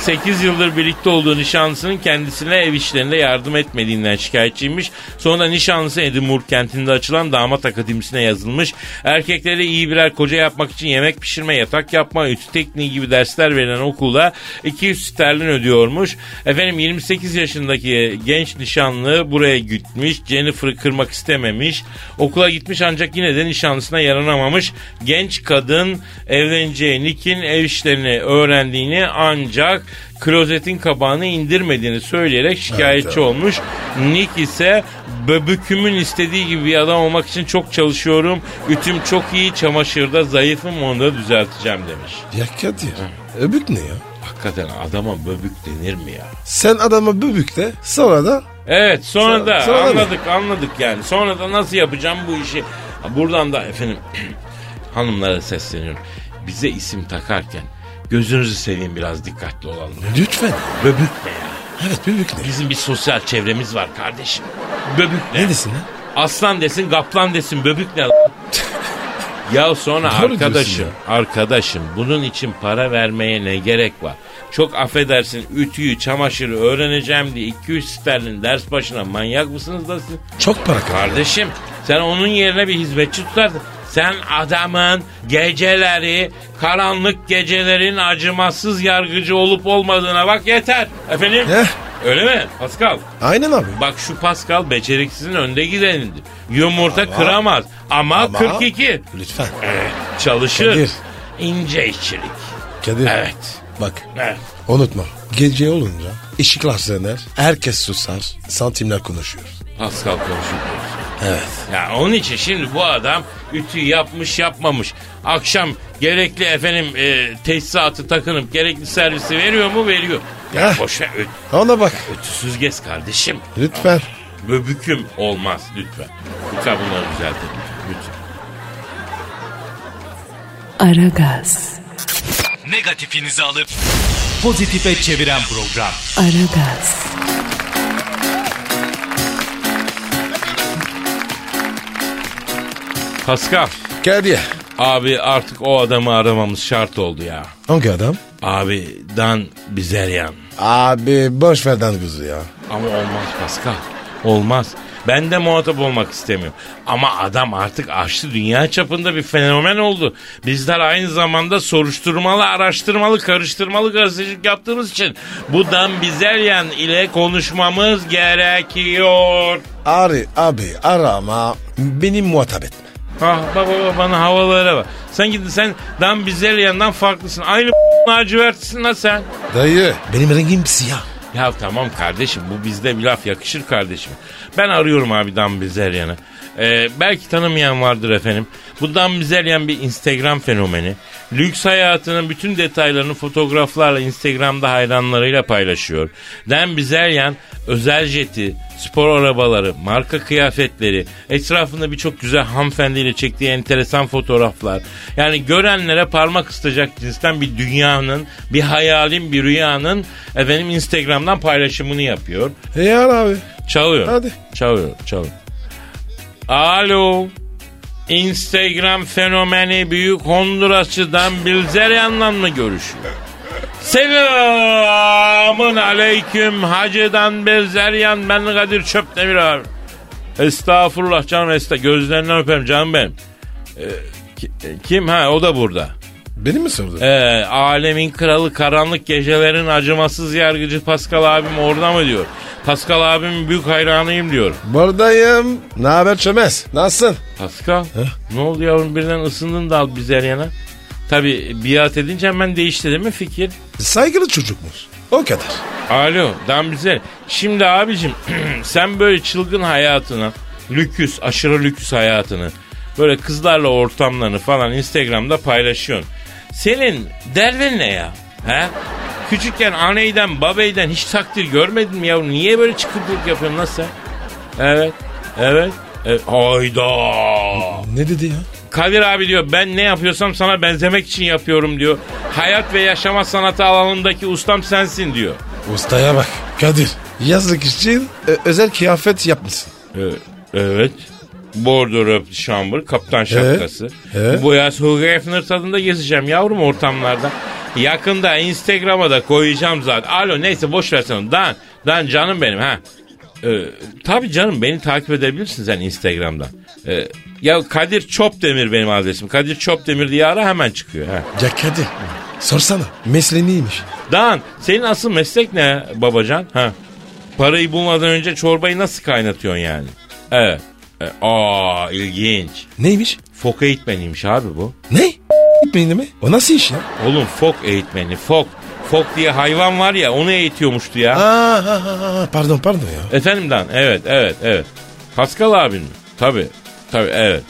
[SPEAKER 2] 8 yıldır birlikte olduğu nişanlısının kendisine ev işlerinde yardım etmediğinden şikayetçiymiş. Sonra nişanlısı Edinburgh kentinde açılan damat akademisine yazılmış. Erkeklere iyi birer koca yapmak için yemek pişirme, yatak yapma, ütü tekniği gibi dersler verilen okula 200 sterlin ödüyormuş. Efendim 28 yaşındaki genç nişanlı buraya gitmiş. Jennifer'ı kırmak istememiş. Okula gitmiş ancak yine de nişanlısına yaranamamış. Genç kadın evleneceği Nick'in ev işlerini öğrendiğini ancak klozetin kabağını indirmediğini söyleyerek şikayetçi olmuş. Nick ise böbükümün istediği gibi bir adam olmak için çok çalışıyorum. Ütüm çok iyi, çamaşırda zayıfım onu da düzelteceğim demiş.
[SPEAKER 3] Ya Kadir. Öbük ne ya?
[SPEAKER 2] Hakikaten adama böbük denir mi ya?
[SPEAKER 3] Sen adama bübük de sonra da
[SPEAKER 2] Evet sonra
[SPEAKER 3] Sonra-
[SPEAKER 2] da
[SPEAKER 3] sonra da-
[SPEAKER 2] anladık anladık yani. Sonra da nasıl yapacağım bu işi. Ha, Buradan da efendim hanımlara sesleniyorum. Bize isim takarken gözünüzü seveyim biraz dikkatli olalım.
[SPEAKER 3] lütfen.
[SPEAKER 2] Böbük ne ya?
[SPEAKER 3] Evet bübük ne?
[SPEAKER 2] Bizim bir sosyal çevremiz var kardeşim. Böbük ne?
[SPEAKER 3] Ne desin lan?
[SPEAKER 2] Aslan desin kaplan desin böbük ne lan? Ya sonra
[SPEAKER 3] Doğru diyorsun
[SPEAKER 2] arkadaşım, arkadaşım bunun için para vermeye ne gerek var? Çok affedersin ütüyü, çamaşırı öğreneceğim diye 200 sterlin ders başına manyak mısınız da siz?
[SPEAKER 3] Çok para kar.
[SPEAKER 2] Kardeşim sen onun yerine bir hizmetçi tutardın. Sen adamın geceleri, karanlık gecelerin acımasız yargıcı olup olmadığına bak yeter. Efendim?
[SPEAKER 3] Heh.
[SPEAKER 2] Öyle mi Pascal?
[SPEAKER 3] Aynen abi.
[SPEAKER 2] Bak şu Pascal beceriksizin önde gidenidir. Yumurta kıramaz ama,
[SPEAKER 3] Ama-
[SPEAKER 2] 42.
[SPEAKER 3] Lütfen.
[SPEAKER 2] Evet, çalışır.
[SPEAKER 3] Kadir.
[SPEAKER 2] İnce işçilik.
[SPEAKER 3] Kadir.
[SPEAKER 2] Evet.
[SPEAKER 3] Bak
[SPEAKER 2] Evet.
[SPEAKER 3] unutma. Gece olunca ışıklar söner. Herkes susar. Santimler konuşuyor.
[SPEAKER 2] Pascal konuşuyor.
[SPEAKER 3] Evet.
[SPEAKER 2] Ya onun için şimdi bu adam ütü yapmış yapmamış. Akşam gerekli efendim e, tesisatı takınıp gerekli servisi veriyor mu? Veriyor. Ya
[SPEAKER 3] Heh.
[SPEAKER 2] boş ver, ö-
[SPEAKER 3] Ona bak.
[SPEAKER 2] ütüsüz gez kardeşim.
[SPEAKER 3] Lütfen.
[SPEAKER 2] Böbüküm olmaz lütfen. Lütfen bunları düzeltin. Lütfen.
[SPEAKER 1] Aragaz,
[SPEAKER 4] Negatifinizi alıp pozitife çeviren program.
[SPEAKER 1] Aragaz,
[SPEAKER 2] Pascal
[SPEAKER 3] Geldi ya.
[SPEAKER 2] abi artık o adamı aramamız şart oldu ya.
[SPEAKER 3] Hangi adam?
[SPEAKER 2] Abi Dan Bizeryan.
[SPEAKER 3] Abi boş ver lan kızı ya.
[SPEAKER 2] Ama olmaz Pascal. Olmaz. Ben de muhatap olmak istemiyorum. Ama adam artık aştı dünya çapında bir fenomen oldu. Bizler aynı zamanda soruşturmalı, araştırmalı, karıştırmalı gazetecilik yaptığımız için bu Dan Bizeryan ile konuşmamız gerekiyor.
[SPEAKER 3] Ari abi arama. Beni muhatap etme.
[SPEAKER 2] Ah bak bak bana havalara bak. Sen gidin sen Dan Bizeryan'dan farklısın. Aynı lacivertlisin lan sen.
[SPEAKER 3] Dayı benim rengim siyah.
[SPEAKER 2] Ya tamam kardeşim bu bizde bir laf yakışır kardeşim. Ben arıyorum abi Dan Bizeryan'ı. Ee, belki tanımayan vardır efendim. Bu Dan Bizeryan bir Instagram fenomeni. Lüks hayatının bütün detaylarını fotoğraflarla Instagram'da hayranlarıyla paylaşıyor. Dan Bizeryan özel jeti, spor arabaları, marka kıyafetleri, etrafında birçok güzel hanımefendiyle çektiği enteresan fotoğraflar. Yani görenlere parmak ısıtacak cinsten bir dünyanın, bir hayalin, bir rüyanın efendim Instagram'dan paylaşımını yapıyor.
[SPEAKER 3] E yar abi.
[SPEAKER 2] Çalıyor.
[SPEAKER 3] Hadi.
[SPEAKER 2] Çalıyor, çalıyor. Alo. Instagram fenomeni büyük Hondurasçı'dan Bilzerian'la mı görüşüyor? Selamın aleyküm Hacı'dan Bilzerian ben Kadir Çöpdemir abi. Estağfurullah canım esta gözlerinden öperim canım benim. Ee, ki- kim ha o da burada.
[SPEAKER 3] Beni mi sordun?
[SPEAKER 2] Ee, alemin kralı karanlık gecelerin acımasız yargıcı Pascal abim orada mı diyor. Pascal abim büyük hayranıyım diyor.
[SPEAKER 3] Buradayım. Ne haber çömez? Nasılsın?
[SPEAKER 2] Pascal ne oldu yavrum birden ısındın da al bize yana. Tabi biat edince hemen değişti değil mi fikir?
[SPEAKER 3] Saygılı çocukmuş. O kadar.
[SPEAKER 2] Alo Dan Bizer. Şimdi abicim sen böyle çılgın hayatını, lüküs, aşırı lüküs hayatını, böyle kızlarla ortamlarını falan Instagram'da paylaşıyorsun. Senin derdin ne ya? He? Küçükken aneyden, babeyden hiç takdir görmedin mi yavrum? Niye böyle çıkıntılık yapıyorsun lan sen? Evet, evet. evet. Hayda.
[SPEAKER 3] Ne dedi ya?
[SPEAKER 2] Kadir abi diyor ben ne yapıyorsam sana benzemek için yapıyorum diyor. Hayat ve yaşama sanatı alanındaki ustam sensin diyor.
[SPEAKER 3] Ustaya bak. Kadir. Yazlık için e, özel kıyafet yapmışsın.
[SPEAKER 2] Evet. evet. Bordo röptü şambır, kaptan şapkası.
[SPEAKER 3] evet.
[SPEAKER 2] Bu yaz Hugh Hefner tadında gezeceğim yavrum ortamlarda. Yakında Instagram'a da koyacağım zaten. Alo neyse boş versene. Dan, Dan canım benim ha. Ee, tabii canım beni takip edebilirsin sen Instagram'dan. Ee, ya Kadir Çopdemir benim adresim. Kadir Çopdemir diye ara hemen çıkıyor. Ha.
[SPEAKER 3] Ya Kadir. Sorsana. Mesleğin neymiş?
[SPEAKER 2] Dan senin asıl meslek ne babacan? Ha. Parayı bulmadan önce çorbayı nasıl kaynatıyorsun yani? Evet. E, aa ilginç.
[SPEAKER 3] Neymiş?
[SPEAKER 2] Fok eğitmeniymiş abi bu.
[SPEAKER 3] Ne? Gitmeyin mi? O nasıl iş ya?
[SPEAKER 2] Oğlum fok eğitmeni fok. Fok diye hayvan var ya onu eğitiyormuştu ya.
[SPEAKER 3] Aa, ha, ha, ha, pardon pardon ya.
[SPEAKER 2] Efendim Dan evet evet evet. Pascal abin mi? Tabii tabii evet.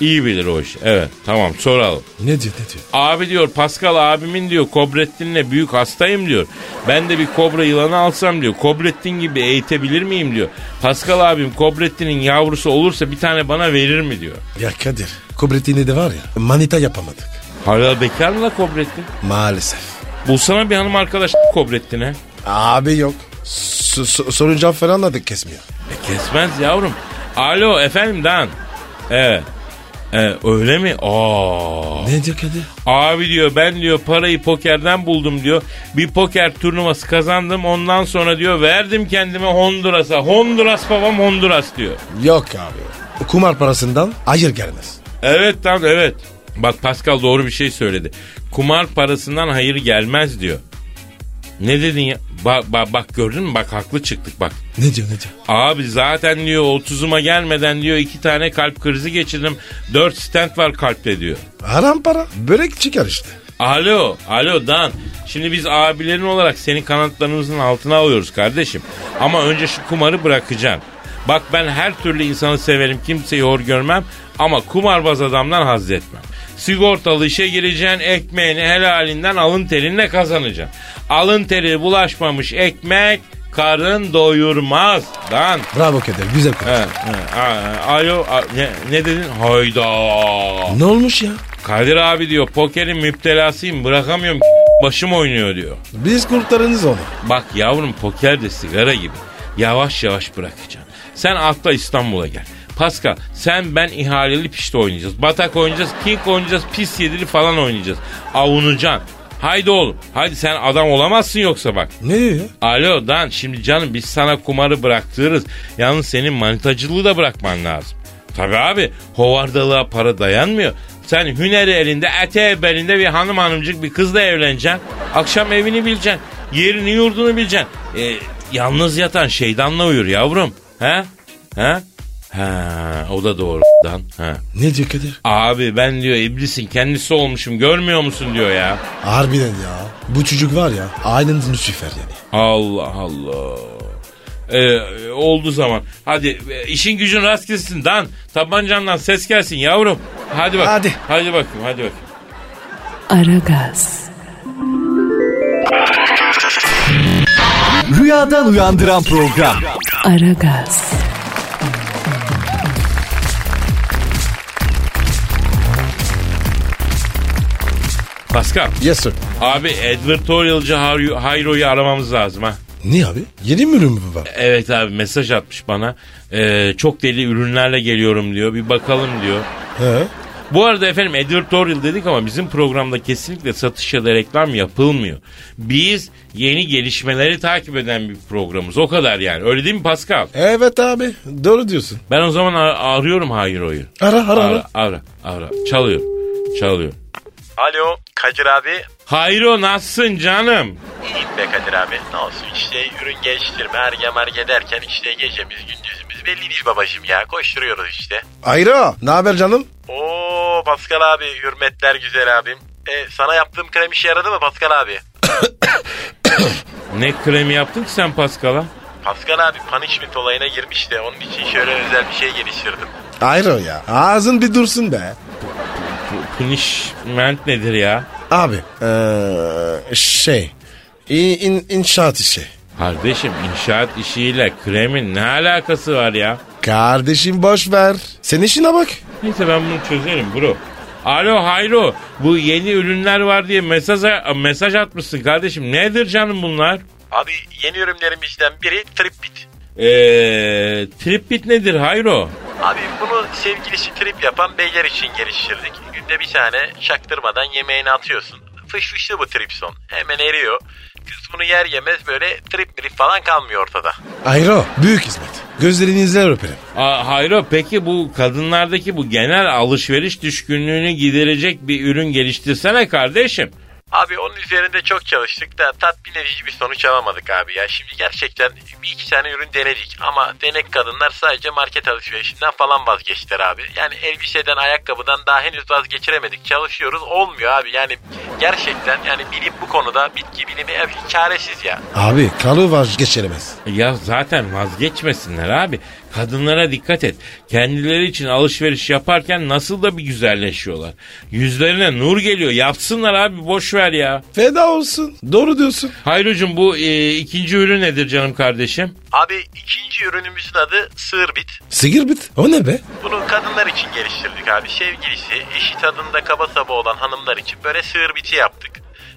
[SPEAKER 2] İyi bilir o işi. Evet tamam soralım.
[SPEAKER 3] Ne diyor ne diyor?
[SPEAKER 2] Abi diyor Pascal abimin diyor Kobrettin'le büyük hastayım diyor. Ben de bir kobra yılanı alsam diyor. Kobrettin gibi eğitebilir miyim diyor. Pascal abim Kobrettin'in yavrusu olursa bir tane bana verir mi diyor.
[SPEAKER 3] Ya Kadir. Kubretini de var ya. Manita yapamadık.
[SPEAKER 2] Hala bekar mı la Kobrettin?
[SPEAKER 3] Maalesef.
[SPEAKER 2] Bulsana bir hanım arkadaş Kobrettin'e.
[SPEAKER 3] Abi yok. So- so- sorunca falan da kesmiyor.
[SPEAKER 2] E kesmez yavrum. Alo efendim Dan. Evet. E, öyle mi? Aa.
[SPEAKER 3] Ne diyor Kadir?
[SPEAKER 2] Abi diyor ben diyor parayı pokerden buldum diyor. Bir poker turnuvası kazandım ondan sonra diyor verdim kendime Honduras'a. Honduras babam Honduras diyor.
[SPEAKER 3] Yok abi. Kumar parasından hayır gelmez.
[SPEAKER 2] Evet lan evet. Bak Pascal doğru bir şey söyledi. Kumar parasından hayır gelmez diyor. Ne dedin ya? Bak bak bak gördün mü? Bak haklı çıktık bak.
[SPEAKER 3] Ne diyor ne diyor?
[SPEAKER 2] Abi zaten diyor 30'uma gelmeden diyor iki tane kalp krizi geçirdim. 4 stent var kalpte diyor.
[SPEAKER 3] Haram para. Börek çıkar işte.
[SPEAKER 2] Alo, alo Dan. Şimdi biz abilerin olarak senin kanatlarımızın altına alıyoruz kardeşim. Ama önce şu kumarı bırakacaksın. Bak ben her türlü insanı severim, kimseyi hor görmem ama kumarbaz adamdan haz etmem. Sigortalı işe gireceksin, ekmeğini helalinden alın terinle kazanacaksın. Alın teri bulaşmamış ekmek karın doyurmaz lan.
[SPEAKER 3] Bravo Kadir güzel konu.
[SPEAKER 2] He, he. A- Alo a- ne, ne dedin? Hayda.
[SPEAKER 3] Ne olmuş ya?
[SPEAKER 2] Kadir abi diyor pokerin müptelasıyım bırakamıyorum başım oynuyor diyor.
[SPEAKER 3] Biz kurtarınız onu.
[SPEAKER 2] Bak yavrum poker de sigara gibi. Yavaş yavaş bırakacaksın. Sen atla İstanbul'a gel. Pascal sen ben ihaleli pişti oynayacağız. Batak oynayacağız, king oynayacağız, pis yedili falan oynayacağız. Avunacaksın. Haydi oğlum. Haydi sen adam olamazsın yoksa bak.
[SPEAKER 3] Ne diyor ya?
[SPEAKER 2] Alo Dan şimdi canım biz sana kumarı bıraktırırız. Yalnız senin manitacılığı da bırakman lazım. Tabii abi hovardalığa para dayanmıyor. Sen hüneri elinde, eteği belinde bir hanım hanımcık bir kızla evleneceksin. Akşam evini bileceksin. Yerini yurdunu bileceksin. E, yalnız yatan şeytanla uyur yavrum. He? He? Ha, o da doğru Dan. Ha.
[SPEAKER 3] Ne diyor Kadir?
[SPEAKER 2] Abi ben diyor iblisin kendisi olmuşum görmüyor musun diyor ya.
[SPEAKER 3] Harbiden ya. Bu çocuk var ya aynen Lucifer yani.
[SPEAKER 2] Allah Allah. Ee, oldu zaman. Hadi e, işin gücün rast gitsin Dan. Tabancandan ses gelsin yavrum. Hadi bak.
[SPEAKER 3] Hadi.
[SPEAKER 2] Hadi bakayım hadi bakayım.
[SPEAKER 1] Aragaz,
[SPEAKER 4] Rüyadan uyandıran program.
[SPEAKER 1] Aragaz,
[SPEAKER 2] Pascal.
[SPEAKER 3] Yes sir.
[SPEAKER 2] Abi advertorialcı Hayro- Hayro'yu aramamız lazım ha.
[SPEAKER 3] Niye abi? Yeni mi ürün mü var?
[SPEAKER 2] Evet abi mesaj atmış bana. Ee, çok deli ürünlerle geliyorum diyor. Bir bakalım diyor.
[SPEAKER 3] He.
[SPEAKER 2] Bu arada efendim editorial dedik ama bizim programda kesinlikle satış ya da reklam yapılmıyor. Biz yeni gelişmeleri takip eden bir programız. O kadar yani. Öyle değil mi Pascal?
[SPEAKER 3] Evet abi doğru diyorsun.
[SPEAKER 2] Ben o zaman ar- arıyorum Hayro'yu.
[SPEAKER 3] Ara ara
[SPEAKER 2] Ara,
[SPEAKER 3] ara.
[SPEAKER 2] ara, ara. Çalıyor, çalıyor.
[SPEAKER 5] Alo Kadir abi.
[SPEAKER 2] Hayro nasılsın canım?
[SPEAKER 5] İyiyim be Kadir abi. Ne olsun işte ürün geliştirme erge merge derken işte gecemiz gündüzümüz belli değil babacım ya. Koşturuyoruz işte.
[SPEAKER 3] Ayro ne haber canım?
[SPEAKER 5] Oo Pascal abi hürmetler güzel abim. E, sana yaptığım krem işe yaradı mı Pascal abi?
[SPEAKER 2] Ne kremi yaptın ki sen Pascal'a?
[SPEAKER 5] Pascal abi punishment olayına girmiş de onun için şöyle özel bir şey geliştirdim.
[SPEAKER 3] Ayro ya ağzın bir dursun be.
[SPEAKER 2] Punishment nedir ya?
[SPEAKER 3] Abi eee, şey in, in, inşaat işi.
[SPEAKER 2] Kardeşim inşaat işiyle kremin ne alakası var ya?
[SPEAKER 3] Kardeşim boş ver. Senin işine bak.
[SPEAKER 2] Neyse ben bunu çözerim bro. Alo Hayro bu yeni ürünler var diye mesaj, mesaj atmışsın kardeşim. Nedir canım bunlar?
[SPEAKER 5] Abi yeni ürünlerimizden biri Trip Bit.
[SPEAKER 2] Eee tripbit Ee, nedir Hayro?
[SPEAKER 5] Abi bunu sevgilisi trip yapan beyler için geliştirdik. Günde bir tane çaktırmadan yemeğini atıyorsun. Fış fışlı bu tripson. Hemen eriyor. Kız bunu yer yemez böyle trip mirip falan kalmıyor ortada.
[SPEAKER 3] Ayro büyük hizmet. Gözlerinizden öperim.
[SPEAKER 2] Aa, Hayro peki bu kadınlardaki bu genel alışveriş düşkünlüğünü giderecek bir ürün geliştirsene kardeşim.
[SPEAKER 5] Abi onun üzerinde çok çalıştık da tatmin edici bir sonuç alamadık abi ya. Şimdi gerçekten bir iki tane ürün denedik ama denek kadınlar sadece market alışverişinden falan vazgeçtiler abi. Yani elbiseden ayakkabıdan daha henüz vazgeçiremedik. Çalışıyoruz olmuyor abi yani gerçekten yani bilim bu konuda bitki bilimi hep çaresiz ya.
[SPEAKER 3] Abi kalı var geçiremez.
[SPEAKER 2] Ya zaten vazgeçmesinler abi. Kadınlara dikkat et. Kendileri için alışveriş yaparken nasıl da bir güzelleşiyorlar. Yüzlerine nur geliyor. Yapsınlar abi boş ver ya.
[SPEAKER 3] Feda olsun. Doğru diyorsun.
[SPEAKER 2] Hayrocuğum bu e, ikinci ürün nedir canım kardeşim?
[SPEAKER 5] Abi ikinci ürünümüzün adı sığır bit.
[SPEAKER 3] Sigir bit. O ne be?
[SPEAKER 5] Bunu kadınlar için geliştirdik abi. Sevgilisi, eşi tadında kaba saba olan hanımlar için böyle sığır biti yaptık.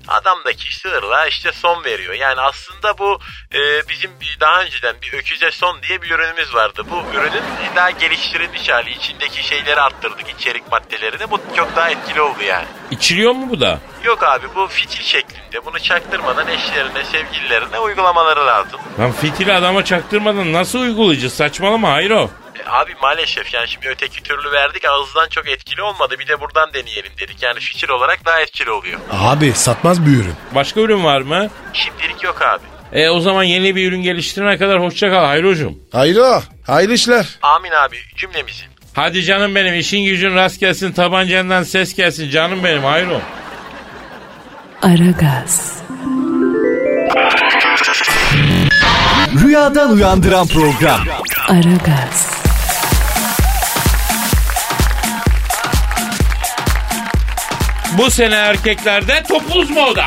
[SPEAKER 5] Adamdaki sığırlığa işte son veriyor. Yani aslında bu e, bizim bir- daha önceden bir öküze son diye bir ürünümüz vardı. Bu ürünün daha geliştirilmiş hali. içindeki şeyleri arttırdık, içerik maddelerini. Bu çok daha etkili oldu yani.
[SPEAKER 2] İçiliyor mu bu da?
[SPEAKER 5] Yok abi bu fitil şeklinde. Bunu çaktırmadan eşlerine, sevgililerine uygulamaları lazım.
[SPEAKER 2] Lan fitili adama çaktırmadan nasıl uygulayacağız? Saçmalama Hayro.
[SPEAKER 5] E, Abi maalesef yani şimdi öteki türlü verdik ağızdan çok etkili olmadı bir de buradan deneyelim dedik. Yani fikir olarak daha etkili oluyor.
[SPEAKER 3] Abi satmaz bir ürün.
[SPEAKER 2] Başka ürün var mı?
[SPEAKER 5] Şimdilik yok abi.
[SPEAKER 2] E o zaman yeni bir ürün geliştirene kadar hoşça kal Hayrocuğum.
[SPEAKER 3] Hayro. Hayırlı işler.
[SPEAKER 5] Amin abi cümlemizi.
[SPEAKER 2] Hadi canım benim işin gücün rast gelsin tabancandan ses gelsin canım benim Hayro.
[SPEAKER 1] Aragaz,
[SPEAKER 4] Rüyadan uyandıran program.
[SPEAKER 1] Aragaz,
[SPEAKER 2] Bu sene erkeklerde topuz moda.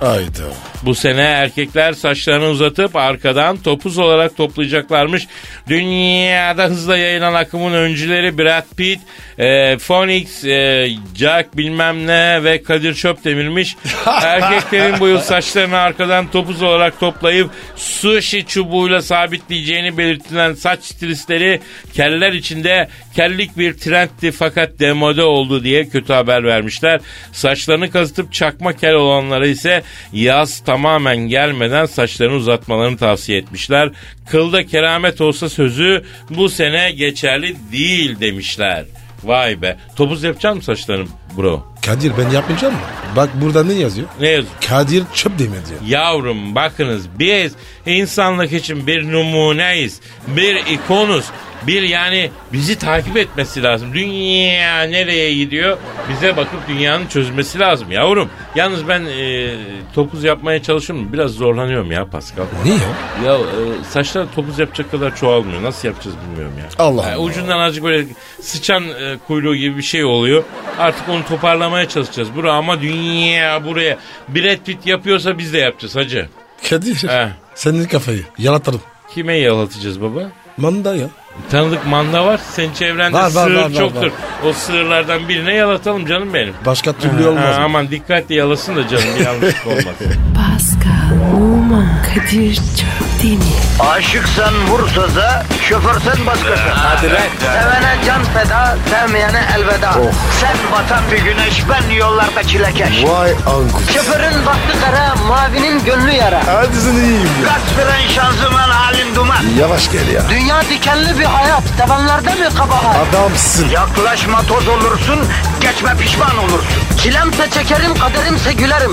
[SPEAKER 3] Hayda.
[SPEAKER 2] Bu sene erkekler saçlarını uzatıp arkadan topuz olarak toplayacaklarmış. Dünyada hızla yayılan akımın öncüleri Brad Pitt, e, Phoenix, e, Jack bilmem ne ve Kadir Çöpdemir'miş. Erkeklerin bu yıl saçlarını arkadan topuz olarak toplayıp sushi çubuğuyla sabitleyeceğini belirtilen saç stilistleri keller içinde kellik bir trendti fakat demode oldu diye kötü haber vermişler. Saçlarını kazıtıp çakma kel olanlara ise yaz tamamen gelmeden saçlarını uzatmalarını tavsiye etmişler. Kılda keramet olsa sözü bu sene geçerli değil demişler. Vay be. Topuz yapacak mı saçlarım bro?
[SPEAKER 3] Kadir ben yapmayacağım mı? Bak burada ne yazıyor?
[SPEAKER 2] Ne yazık?
[SPEAKER 3] Kadir çöp demir diyor.
[SPEAKER 2] Yavrum bakınız biz insanlık için bir numuneyiz. Bir ikonuz. Bir yani bizi takip etmesi lazım. Dünya nereye gidiyor? Bize bakıp dünyanın çözmesi lazım yavrum. Yalnız ben e, topuz yapmaya çalışıyorum. Biraz zorlanıyorum ya Pascal.
[SPEAKER 3] Niye ya?
[SPEAKER 2] Ya e, saçlar topuz yapacak kadar çoğalmıyor. Nasıl yapacağız bilmiyorum ya.
[SPEAKER 3] Allah
[SPEAKER 2] Yani
[SPEAKER 3] Allah.
[SPEAKER 2] ucundan azıcık böyle sıçan e, kuyruğu gibi bir şey oluyor. Artık onu toparlamaya çalışacağız. Bura ama dünya buraya. Brad Pitt yapıyorsa biz de yapacağız hacı.
[SPEAKER 3] Kadir.
[SPEAKER 2] He.
[SPEAKER 3] Senin kafayı yalatırım.
[SPEAKER 2] Kime yalatacağız baba?
[SPEAKER 3] Manda ya.
[SPEAKER 2] Tanıdık manda var. Senin çevrende
[SPEAKER 3] Var, var,
[SPEAKER 2] sığır
[SPEAKER 3] var, var,
[SPEAKER 2] çoktur.
[SPEAKER 3] var.
[SPEAKER 2] O sığırlardan birine yalatalım canım benim.
[SPEAKER 3] Başka türlü olmaz.
[SPEAKER 2] Ha,
[SPEAKER 3] mı?
[SPEAKER 2] aman dikkatli yalasın da canım bir yanlışlık olmasın.
[SPEAKER 1] Pascal, Oman, Kadir çok değil mi?
[SPEAKER 6] Aşıksan vursa da, şoförsen başkasın. Hadi Sevene can feda, sevmeyene elveda.
[SPEAKER 3] Oh.
[SPEAKER 6] Sen batan bir güneş, ben yollarda çilekeş.
[SPEAKER 3] Vay anku.
[SPEAKER 6] Şoförün baktı kara, mavinin gönlü yara.
[SPEAKER 3] Hadi sen iyiyim ya.
[SPEAKER 6] Kasperen şanzıman halin duman.
[SPEAKER 3] Yavaş gel ya.
[SPEAKER 6] Dünya dikenli bir hayat, sevenlerde mi kabahar?
[SPEAKER 3] Adamsın.
[SPEAKER 6] Yaklaşma toz olursun, geçme pişman olursun. Çilemse çekerim, kaderimse gülerim.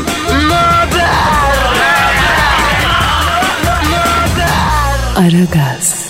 [SPEAKER 6] Möber!
[SPEAKER 1] Aragaz.